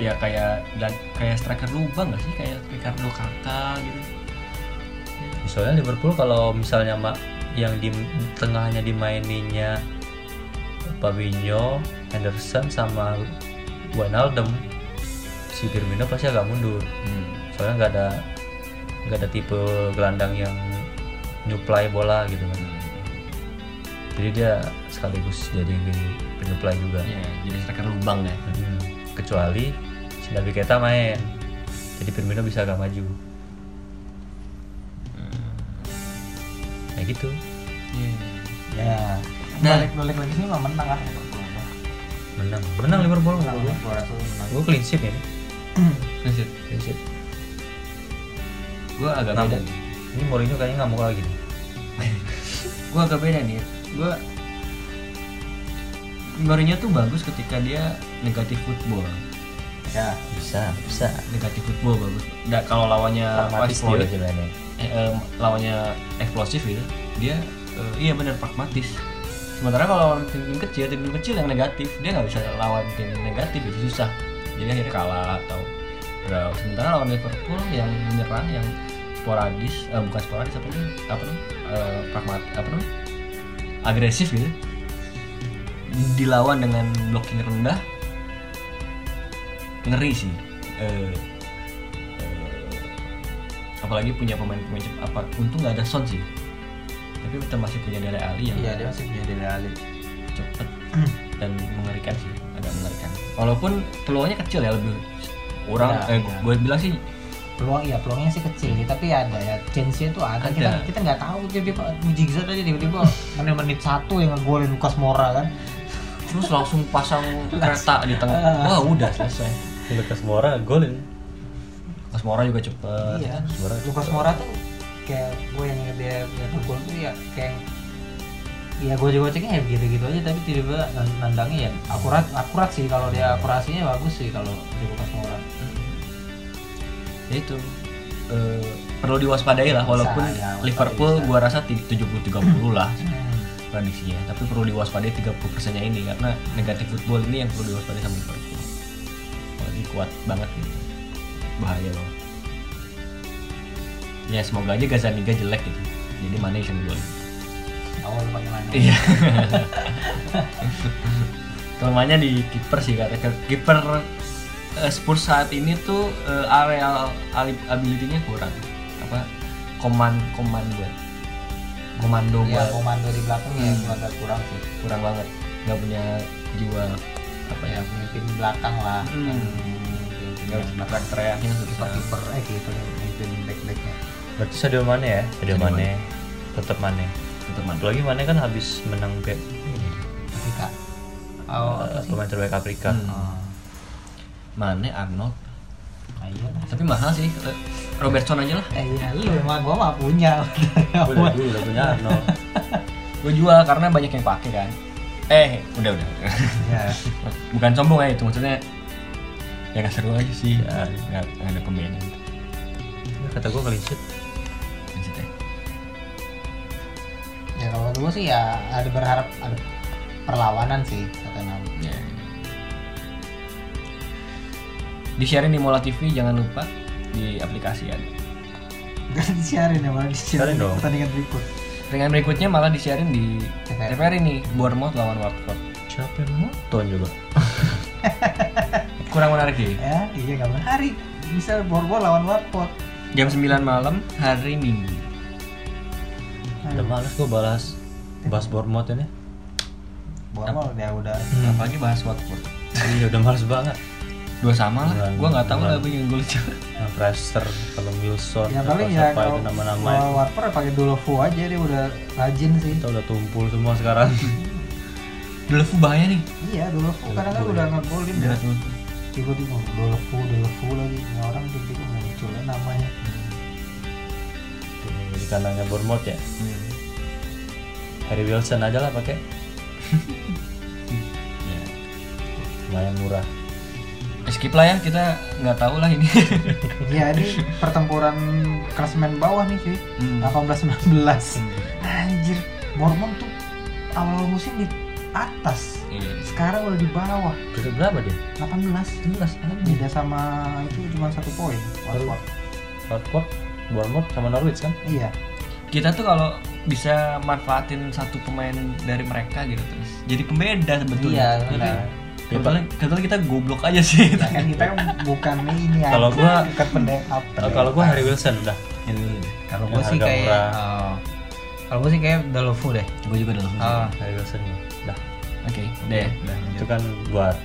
dia kayak dan kayak striker lubang gak sih kayak Ricardo Kakak gitu. soalnya Liverpool kalau misalnya mak yang di tengahnya dimaininnya Fabinho, Henderson sama Wijnaldum si Firmino pasti agak mundur soalnya nggak ada nggak ada tipe gelandang yang nyuplai bola gitu kan jadi dia sekaligus jadi penyuplai juga Ya, jadi striker lubang ya. Hmm, kecuali si Nabi Keita main jadi Firmino bisa agak maju Hmm. kayak gitu Ya. Nah. Balik-balik lagi sih mah menang ah. menang menang Liverpool Menang, gue gua rasa menang. gue clean sheet ini Lanjut. clean sheet Gue agak Kenapa? beda nih. ini Mourinho kayaknya ngamuk lagi nih gue agak beda nih gue Mourinho tuh bagus ketika dia negatif football Ya. bisa bisa negatif football bagus Nggak, kalau lawannya West pragmatis Brom- dia sebenarnya eh, eh, lawannya eksplosif gitu dia eh, iya bener pragmatis sementara kalau lawan tim, tim kecil tim, tim kecil yang negatif dia nggak bisa lawan tim yang negatif itu susah jadi akhirnya kalah atau draw sementara lawan Liverpool yang menyerang yang sporadis eh, bukan sporadis apa namanya apa namanya Eh, pragmat apa namanya agresif gitu dilawan dengan blocking rendah ngeri sih Eh, apalagi punya pemain-pemain cepat apa untung nggak ada Son sih tapi kita masih punya Dele Ali yang Iya, dia masih punya Dele Alli. cepet dan mengerikan sih agak mengerikan walaupun peluangnya kecil ya lebih orang Ya, eh, ya. gue bilang sih peluang iya peluangnya sih kecil sih, tapi ada ya chance nya tuh ada, kita Ada. kita nggak tahu tiba-tiba mujizat aja tiba-tiba menit menit satu yang ngegolin Lucas Moura kan terus langsung [LAUGHS] pasang kereta di tengah Ah. wah udah selesai Lucas Moura golin Mas Mora juga cepet iya kan Lucas Moura. Lucas Moura tuh kayak gue yang ingat dia dia ngegol tuh ya kayak ya gue juga ceknya ya gitu-gitu aja tapi tiba-tiba nan- nandangnya ya akurat akurat sih kalau Hmm. dia akurasinya bagus sih kalau di Lucas Moura Ya itu eh, perlu diwaspadai lah walaupun Bisa, ya, Liverpool bisa. gua rasa ti- 70-30 lah prediksinya ya, tapi perlu diwaspadai 30 persennya ini karena negatif football ini yang perlu diwaspadai sama Liverpool apalagi kuat banget gitu bahaya loh ya semoga aja Gazaniga jelek gitu jadi mana yang gol awal pakai mana iya [LAUGHS] kelemahannya di kiper sih kata kiper eh, Spurs saat ini tuh eh, areal ali- ability-nya kurang apa koman koman buat komando ya buat komando di belakang ya Hmm. agak kurang sih kurang banget nggak punya jiwa apa ya ya pemimpin belakang lah Hmm. Yang nggak pemimpin bisa teriak-teriakin kiper kiper eh gitu pemimpin back backnya berarti Sadio Mane ya Sadio Sadio Mane tetap Mane teman apalagi Mane kan habis menang kayak Afrika Eh. oh apa sih pemain terbaik Afrika oh mana Arnold nah, iya lah tapi mahal sih eh, Robertson aja lah eh iya lu emang gua mah punya Ah, Gue dari dulu udah punya Arnold gue jual karena banyak yang pakai kan eh udah [LAUGHS] udah ya Iya. bukan sombong ya itu maksudnya ya nggak seru aja sih ya, nggak nggak ada pembedaan gitu, Ya, kata gue kelincit maksudnya ya kalau gue sih ya ada berharap ada perlawanan sih kata Nam ya. di sharing di Mola TV jangan lupa di aplikasi kan. ada gak disiarin ya malah Siarin disiarin dong. pertandingan berikut Ringan berikutnya malah di sharing di TVRI. TVRI nih Bournemouth lawan Watford siapa yang nonton coba Hmm. kurang menarik ya ya iya gak menarik bisa borbor lawan Watford jam 9 malam hari Minggu udah males gue balas bahas Bournemouth ini borbor ya udah apalagi bahas Watford iya udah males banget dua sama lah Kurang- gue nggak tahu lah kurang. apa yang gue nah, Prester kalau Wilson ya atau paling ya siapa kalau itu nama-nama kalau itu. Watford ya pakai Dulovo aja dia udah rajin sih kita udah tumpul semua sekarang [LAUGHS] dulu bahaya nih iya Dulovo kadang kan iya. udah ngegolin [LAUGHS] ya tiba-tiba Dulovo Dulovo lagi Ini orang tiba-tiba munculnya namanya jadi kandangnya Bournemouth ya Harry Wilson aja lah [LAUGHS] pakai ya. lumayan murah skip lah ya kita nggak tahu lah [LAUGHS] ini Iya ini [LAUGHS] pertempuran klasemen bawah nih cuy Hmm. 18-19 Hmm. Anjir Mormon tuh awal musim di atas Iya. Sekarang udah di bawah Peringkat berapa dia? 18 11 anjing Beda sama itu cuma satu poin Watford. Watford, Bournemouth sama Norwich kan? Iya kita tuh kalau bisa manfaatin satu pemain dari mereka gitu terus jadi pembeda sebetulnya Iya, Tapi benar. kebetulan kebetulan kita goblok aja sih [LAUGHS] Ya kan kita kan bukan ini ya Kalau gua- Bukan pendekap Kalau- Oh, Kalau gua Harry Wilson udah. Iya, Kalau gua sih kayak, oh, Kalau gue sih kayak Dalofu deh gue juga Hmm. dulu Ah. Harry Wilson ya. Udah. oke ya. deh Itu kan buat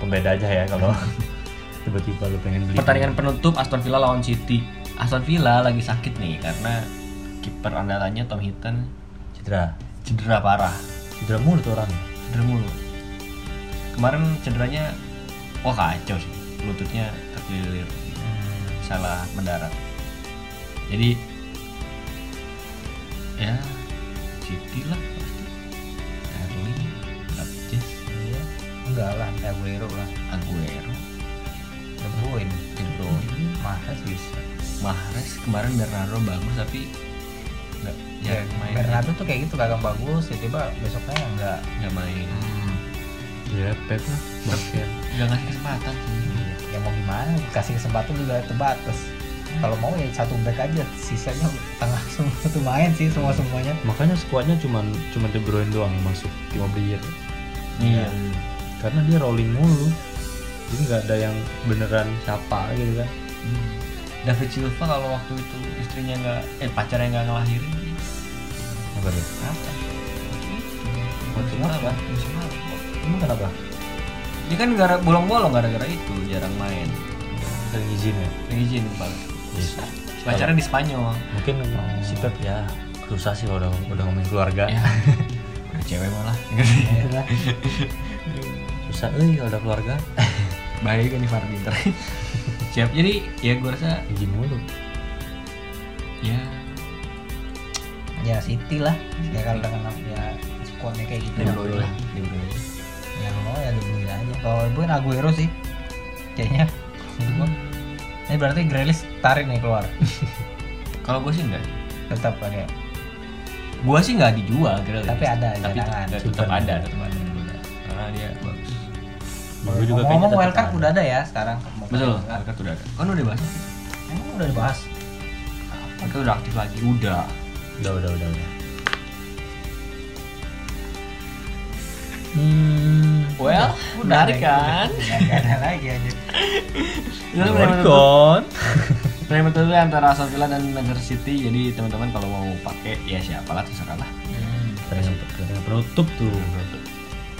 pembeda aja ya kalau [LAUGHS] tiba-tiba lu pengen beli. pertandingan penutup Aston Villa lawan City Aston Villa lagi sakit nih karena kiper andalannya Tom Hinton cedera. cedera parah Cedera mulu tuh orang. cedera mulu kemarin cederanya wah kacau sih lututnya terkelilir salah mendarat jadi ya City lah pasti Erling Davies Enggak lah Aguero lah Aguero De Bruyne De Bruyne Mahas bisa Mahrez kemarin Bernardo bagus tapi nggak ya, jarang main Bernardo tuh kayak gitu kagak bagus tiba-tiba besoknya ya enggak nggak main Ya, Pep lah. Basket. Hmm. nggak ngasih kesempatan sih Iya. ya mau gimana kasih kesempatan juga terbatas Hmm. kalau mau ya satu back aja sisanya tengah [LAUGHS] semua tuh main sih semua semuanya Makanya skuadnya cuman cuma De Bruyne doang yang masuk tim player. iya Karena dia rolling mulu. Jadi nggak ada yang beneran siapa gitu kan. Hmm. David Silva kalau waktu itu istrinya nggak eh pacarnya nggak ngelahirin dia Apa dia? apa Musim apa? Musim lalu. Emang kenapa? dia kan gara bolong-bolong gara-gara itu jarang main Sering izin ya? yang izin kepala Yes. pacarnya di Spanyol mungkin si Pep ya susah sih kalau udah, udah ngomongin keluarga [LAUGHS] ya Iya. udah cewek malah Ya Iya. udah. susah eh kalau udah keluarga bahaya kan nih Fardi ntar. siap jadi ya gue rasa izin mulu ya ya City lah Hmm. ya kalau dengan ya squadnya kayak gitu De Bruyne ya, lah De Bruyne. yang mau ya De Bruyne aja kalau De Bruyne Aguero sih kayaknya Menurut Hmm. gua. ini berarti Grealish tarik nih [LAUGHS] keluar kalau gue sih enggak tetap pakai gue sih nggak dijual Grealish. Tapi ada, tapi cadangan. tetap, tetap ada tetap ada karena dia bagus Gue juga kayaknya ngomong tetap wildcard ada. udah ada ya sekarang gitu, betul Wildcard. Mereka udah ada kan udah dibahas emang udah dibahas mereka udah aktif lagi udah udah udah udah udah hmm well menarik kan Ya, nggak ada lagi aja Itu benar-benar Morgan Premier itu antara Aston Villa dan Manchester City. Jadi teman-teman kalau mau pakai ya siapalah terserah lah. pertandingan pertandingan penutup tuh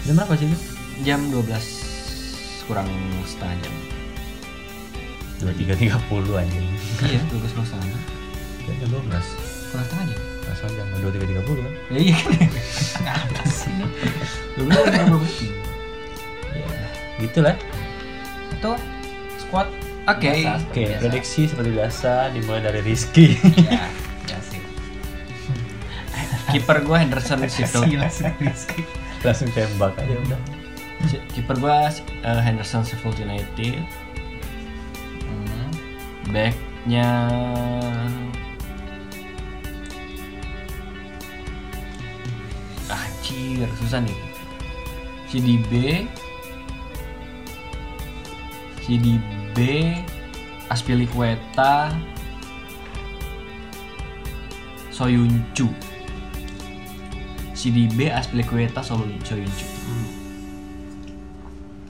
jam berapa sih itu Jam 12 kurang setengah jam. dua tiga tiga puluh anjing iya, 12 kurang setengah jam. Ya, jam dua belas Kurang setengah jam. langsung jam dua tiga tiga puluh kan Ya iya. Ngapa sih ini? 12 kurang 12. ya gitulah itu squad Oke. biasa, oke seperti biasa. Iya prediksi seperti biasa dimulai dari Rizky ya ya sih kiper gue Henderson Sito Gila sih Rizky. [LAUGHS] langsung tembak aja Iya, udah Si- kiper gue Henderson Sheffield United Hmm. backnya anjir susah nih si DB si DB Aspilicueta Soyuncu si DB Aspilicueta Soyun- Soyuncu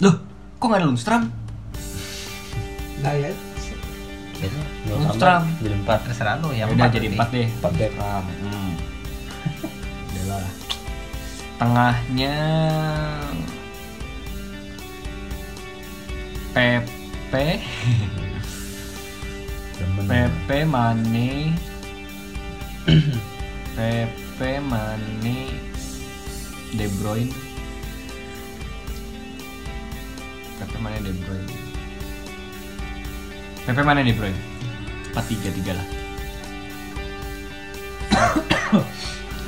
loh kok gak ada Lundstram? Nah Iya ya, Lundstram. jadi empat Terserah lu ya. ya udah jadi empat deh empat back Ram. Hmm. Udahlah. Tengahnya Pepe, Demen. Pepe Mane, Pepe Mane, De Bruyne, Pepe Mane De Bruyne, Pepe Mane De Bruyne, empat tiga tiga lah.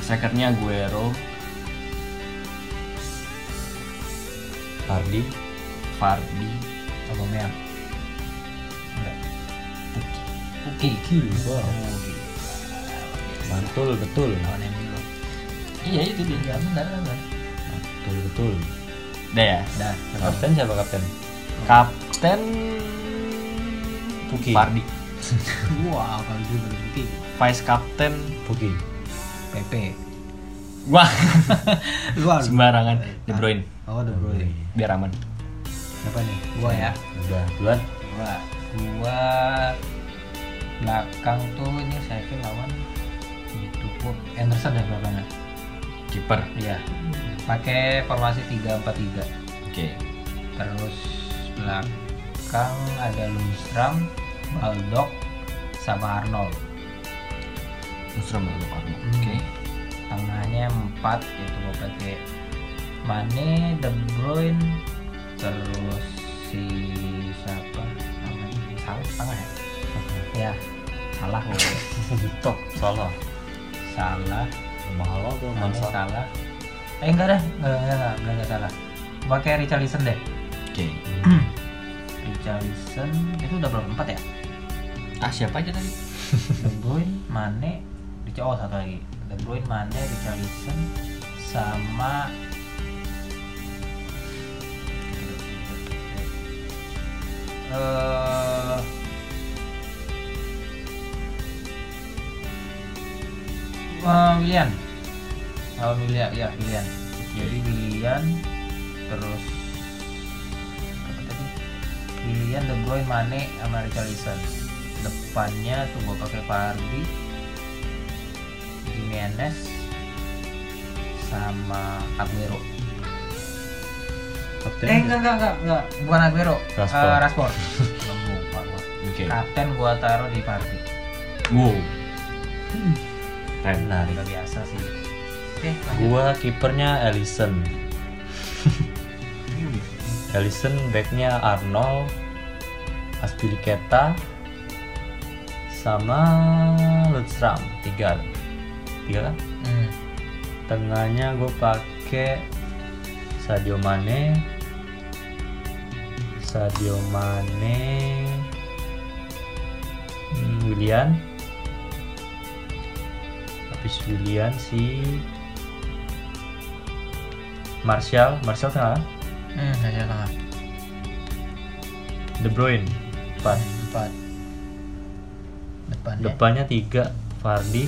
Sekernya Aguero, Hardy Fardi, Coba Mel. Enggak. Puki. Puki. Ki wow mantul betul Lawan MU lo. Iya itu dia. Ya benar benar. mantul betul Nah. Udah ya. Dah. kapten siapa kapten Kapten Puki Fardi. Wah, kalau itu baru Puki. Vice Kapten Puki PP. wah Luar. [LAUGHS] Ah. sembarangan De Bruyne Oh, De Bruyne. biar aman. Siapa nih? Gua ya. udah duluan Gua. Gua belakang tuh ini saya kira lawan itu pun Anderson dan belakangnya. Kiper. Iya. Pakai formasi 3-4-3. Oke. Terus belakang ada Lundstram, Baldock, sama Arnold. Nusram untuk Arno. Hmm. Oke. Tengahnya 4 itu gue pakai Mane, De Bruyne, terus si siapa namanya salah Oh. tengah ya? Ya, salah gue. [LAUGHS] top salah salah. mahal tuh Mane mahal salah. Eh enggak dah, enggak enggak enggak, enggak, enggak salah. Gua Pakai Richarlison deh. Oke. Richarlison itu udah berapa empat ya? Ah siapa aja tadi? De Bruyne, Mane, Richa- oh satu lagi. De Bruyne, Mane, Richarlison, sama eh eh, Willian, oh Willian, ya Willian. Jadi Willian, terus apa tadi? Willian, De Bruyne, Mane, sama Richarlison. Depannya tuh gua pakai Fardi, Jimenez, sama Aguero. kapten Eh enggak enggak enggak enggak, bukan Aguero, Rashford. Eh, Rashford. Belum lupa gua. Oke. Kapten gua taruh di Fardi. Wow. keren nah Gak biasa sih. Oke, lanjut. gua kipernya Ellison Ellison backnya Arnold Aspilicueta sama Lundstram tiga tiga kan Hmm. tengahnya gue pakai Sadio Mane Sadio Mane hmm, Willian habis Willian si Martial Martial tengah ah? Hmm, aja tengah. De Bruyne depan Empat. Depan. Depan. depannya tiga Fardi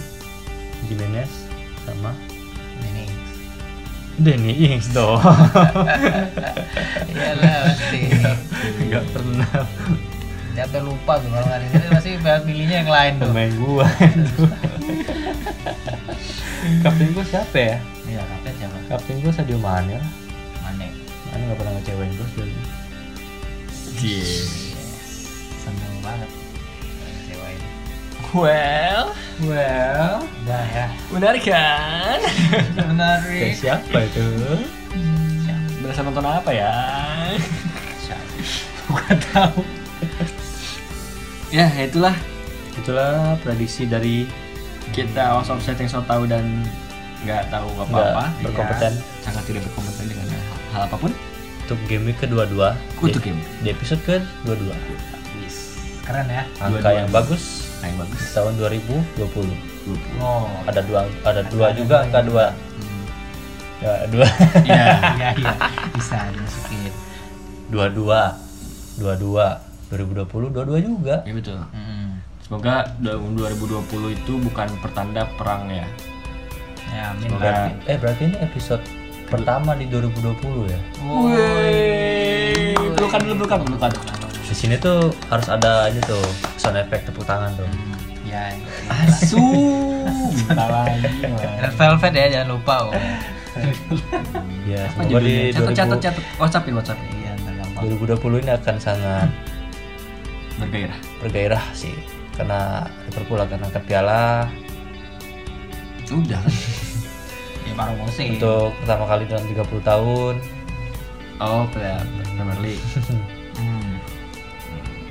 Jimenez sama Ini. Danny Ings dong Iyalah pasti. [LAUGHS] nggak pernah Jatuh lupa tuh kalau nggak di sini pasti pilihnya yang lain tuh. pemain gua itu kapten gua siapa ya Iya, kapten siapa? kapten gua Sadio Mane lah. Mane. Mane nggak pernah ngecewain gua sebenarnya Yes. Seneng banget. Kecewain. Well, well Udah ya. menarik kan? kayak Menarik. siapa itu [LAUGHS] Berasa nonton apa [LAUGHS] ya? Gak tahu. ya itulah itulah prediksi dari Hmm. kita Awesome Setting So Tahu dan nggak tahu nggak apa-apa ya. berkompeten sangat tidak berkompeten dengan hal, hal apapun untuk game week kedua-dua untuk di, game di episode kedua-dua keren ya angka Dua-dua. yang bagus nah, yang bagus di tahun 2020 20 oh ada dua ada dua juga angka dua Hmm. ya, dua [LAUGHS] iya iya iya bisa dimasukin dua dua dua dua 2020 dua dua juga [LAUGHS] ya betul hmm. semoga tahun 2020 itu bukan pertanda perang ya ya amin Semoga. lah eh berarti ini episode pertama di 2020 ya Wih, pelukan dulu pelukan pelukan. di sini tuh harus ada aja tuh sound effect tepuk tangan tuh ya Asu, [LAUGHS] minta lagi. Red Velvet ya jangan lupa oh ya Apa semoga di judulnya? Catat, 2000 catat, catat. WhatsAppin, WhatsAppin. iya ntar gampang 2020 ini akan sangat Bergairah. bergairah sih karena Liverpool akan angkat piala Udah. ya baru musim untuk pertama kali dalam 30 tahun Oh, Pre- Premier League. hmm.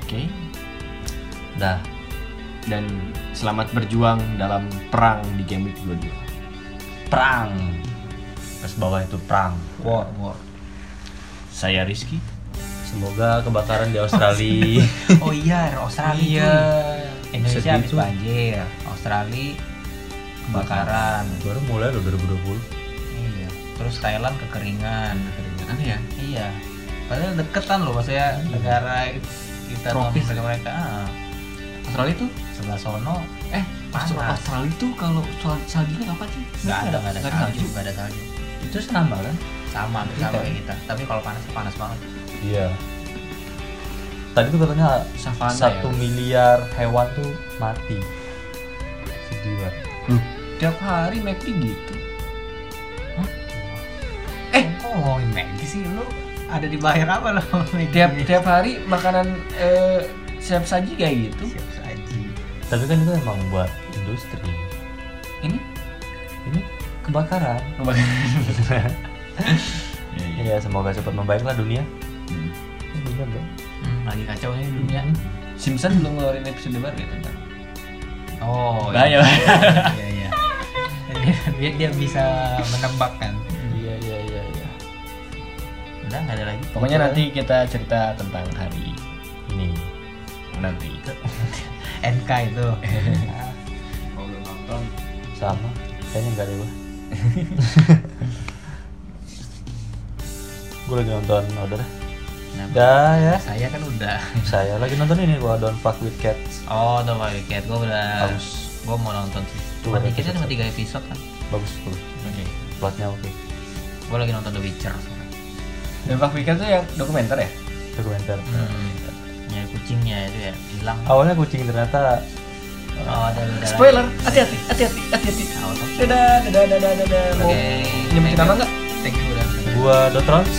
Oke. nah Dan selamat berjuang dalam perang di game week 22. perang terus bawah itu perang war war Saya Rizky. semoga kebakaran di [LAUGHS] Australia oh iya Australia cuy. Indonesia Sedih habis tuh. banjir Australia kebakaran baru mulai loh 2020 iya terus Thailand kekeringan Keringan aneh ya. iya padahal deketan loh maksudnya negara kita Tropis. sama mereka ah, Australia tuh sebelah sono eh Australia, Panas. Australia tuh kalau sal- saljunya kapan sih? nggak ada nggak ada Nggak salju Iya. salju. nggak ada salju itu sama kan sama hampir sama kayak kita tapi kalau panas panas banget iya tadi tuh katanya Savana satu ya. miliar hewan tuh mati sedih banget Loh, tiap hari McD gitu. eh kok ngomongin Maggi sih lu ada di bahir apa lo Tiap Iya, tiap hari makanan eh, siap saji kayak gitu. siap saji tapi kan itu emang buat industri Ini ini kebakaran [LAUGHS] Iya. ya semoga cepat membaiklah dunia dunia bro hmm, lagi kacau nih dunia Simpson belum ngeluarin episode baru ya tentang. oh Bahaya, iya [LAUGHS] iya dia, dia bisa menembak kan iya iya iya iya udah nggak ada lagi Pokoknya nanti kita cerita tentang hari ini nanti. NK [LAUGHS] itu Kalau belum nonton, sama kayaknya enggak deh [LAUGHS] gue gue lagi nonton order Kenapa? dah ya saya kan udah saya lagi nonton ini gue Don't Fuck With Cats oh The Wild Cat gue udah Bagus. gue mau nonton sih Tuh, cuma ada dikitnya episode cuma tiga episode kan bagus bagus oke. plotnya oke gue lagi nonton The Witcher sekarang. Dan Pak Fikar tuh yang dokumenter ya? dokumenter hmm. nyari kucingnya itu ya hilang awalnya kucing oh ternyata ada ada Oh. Spoiler, hati-hati, hati-hati, hati-hati. Oh, oke. Dadah, dadah, dadah, dadah. Mau nyebutin nama nggak? Thank you udah. gue Dotrons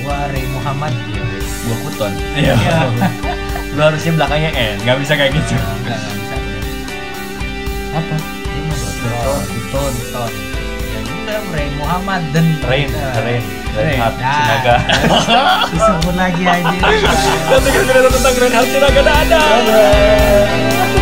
Gua Ray Muhammad. Ya. Iya. Gua kuton. Iya. Lu harusnya belakangnya N, nggak bisa kayak gitu. Enggak enggak bisa. apa Ini mau Kuton, dotron. kuton. Ton. Ya udah Ray Muhammad dan Rain Rain Reinhard Dah. Sinaga [LAUGHS] Disebut lagi aja. Dan kita sudah tentang Grand House Sinaga, dadah.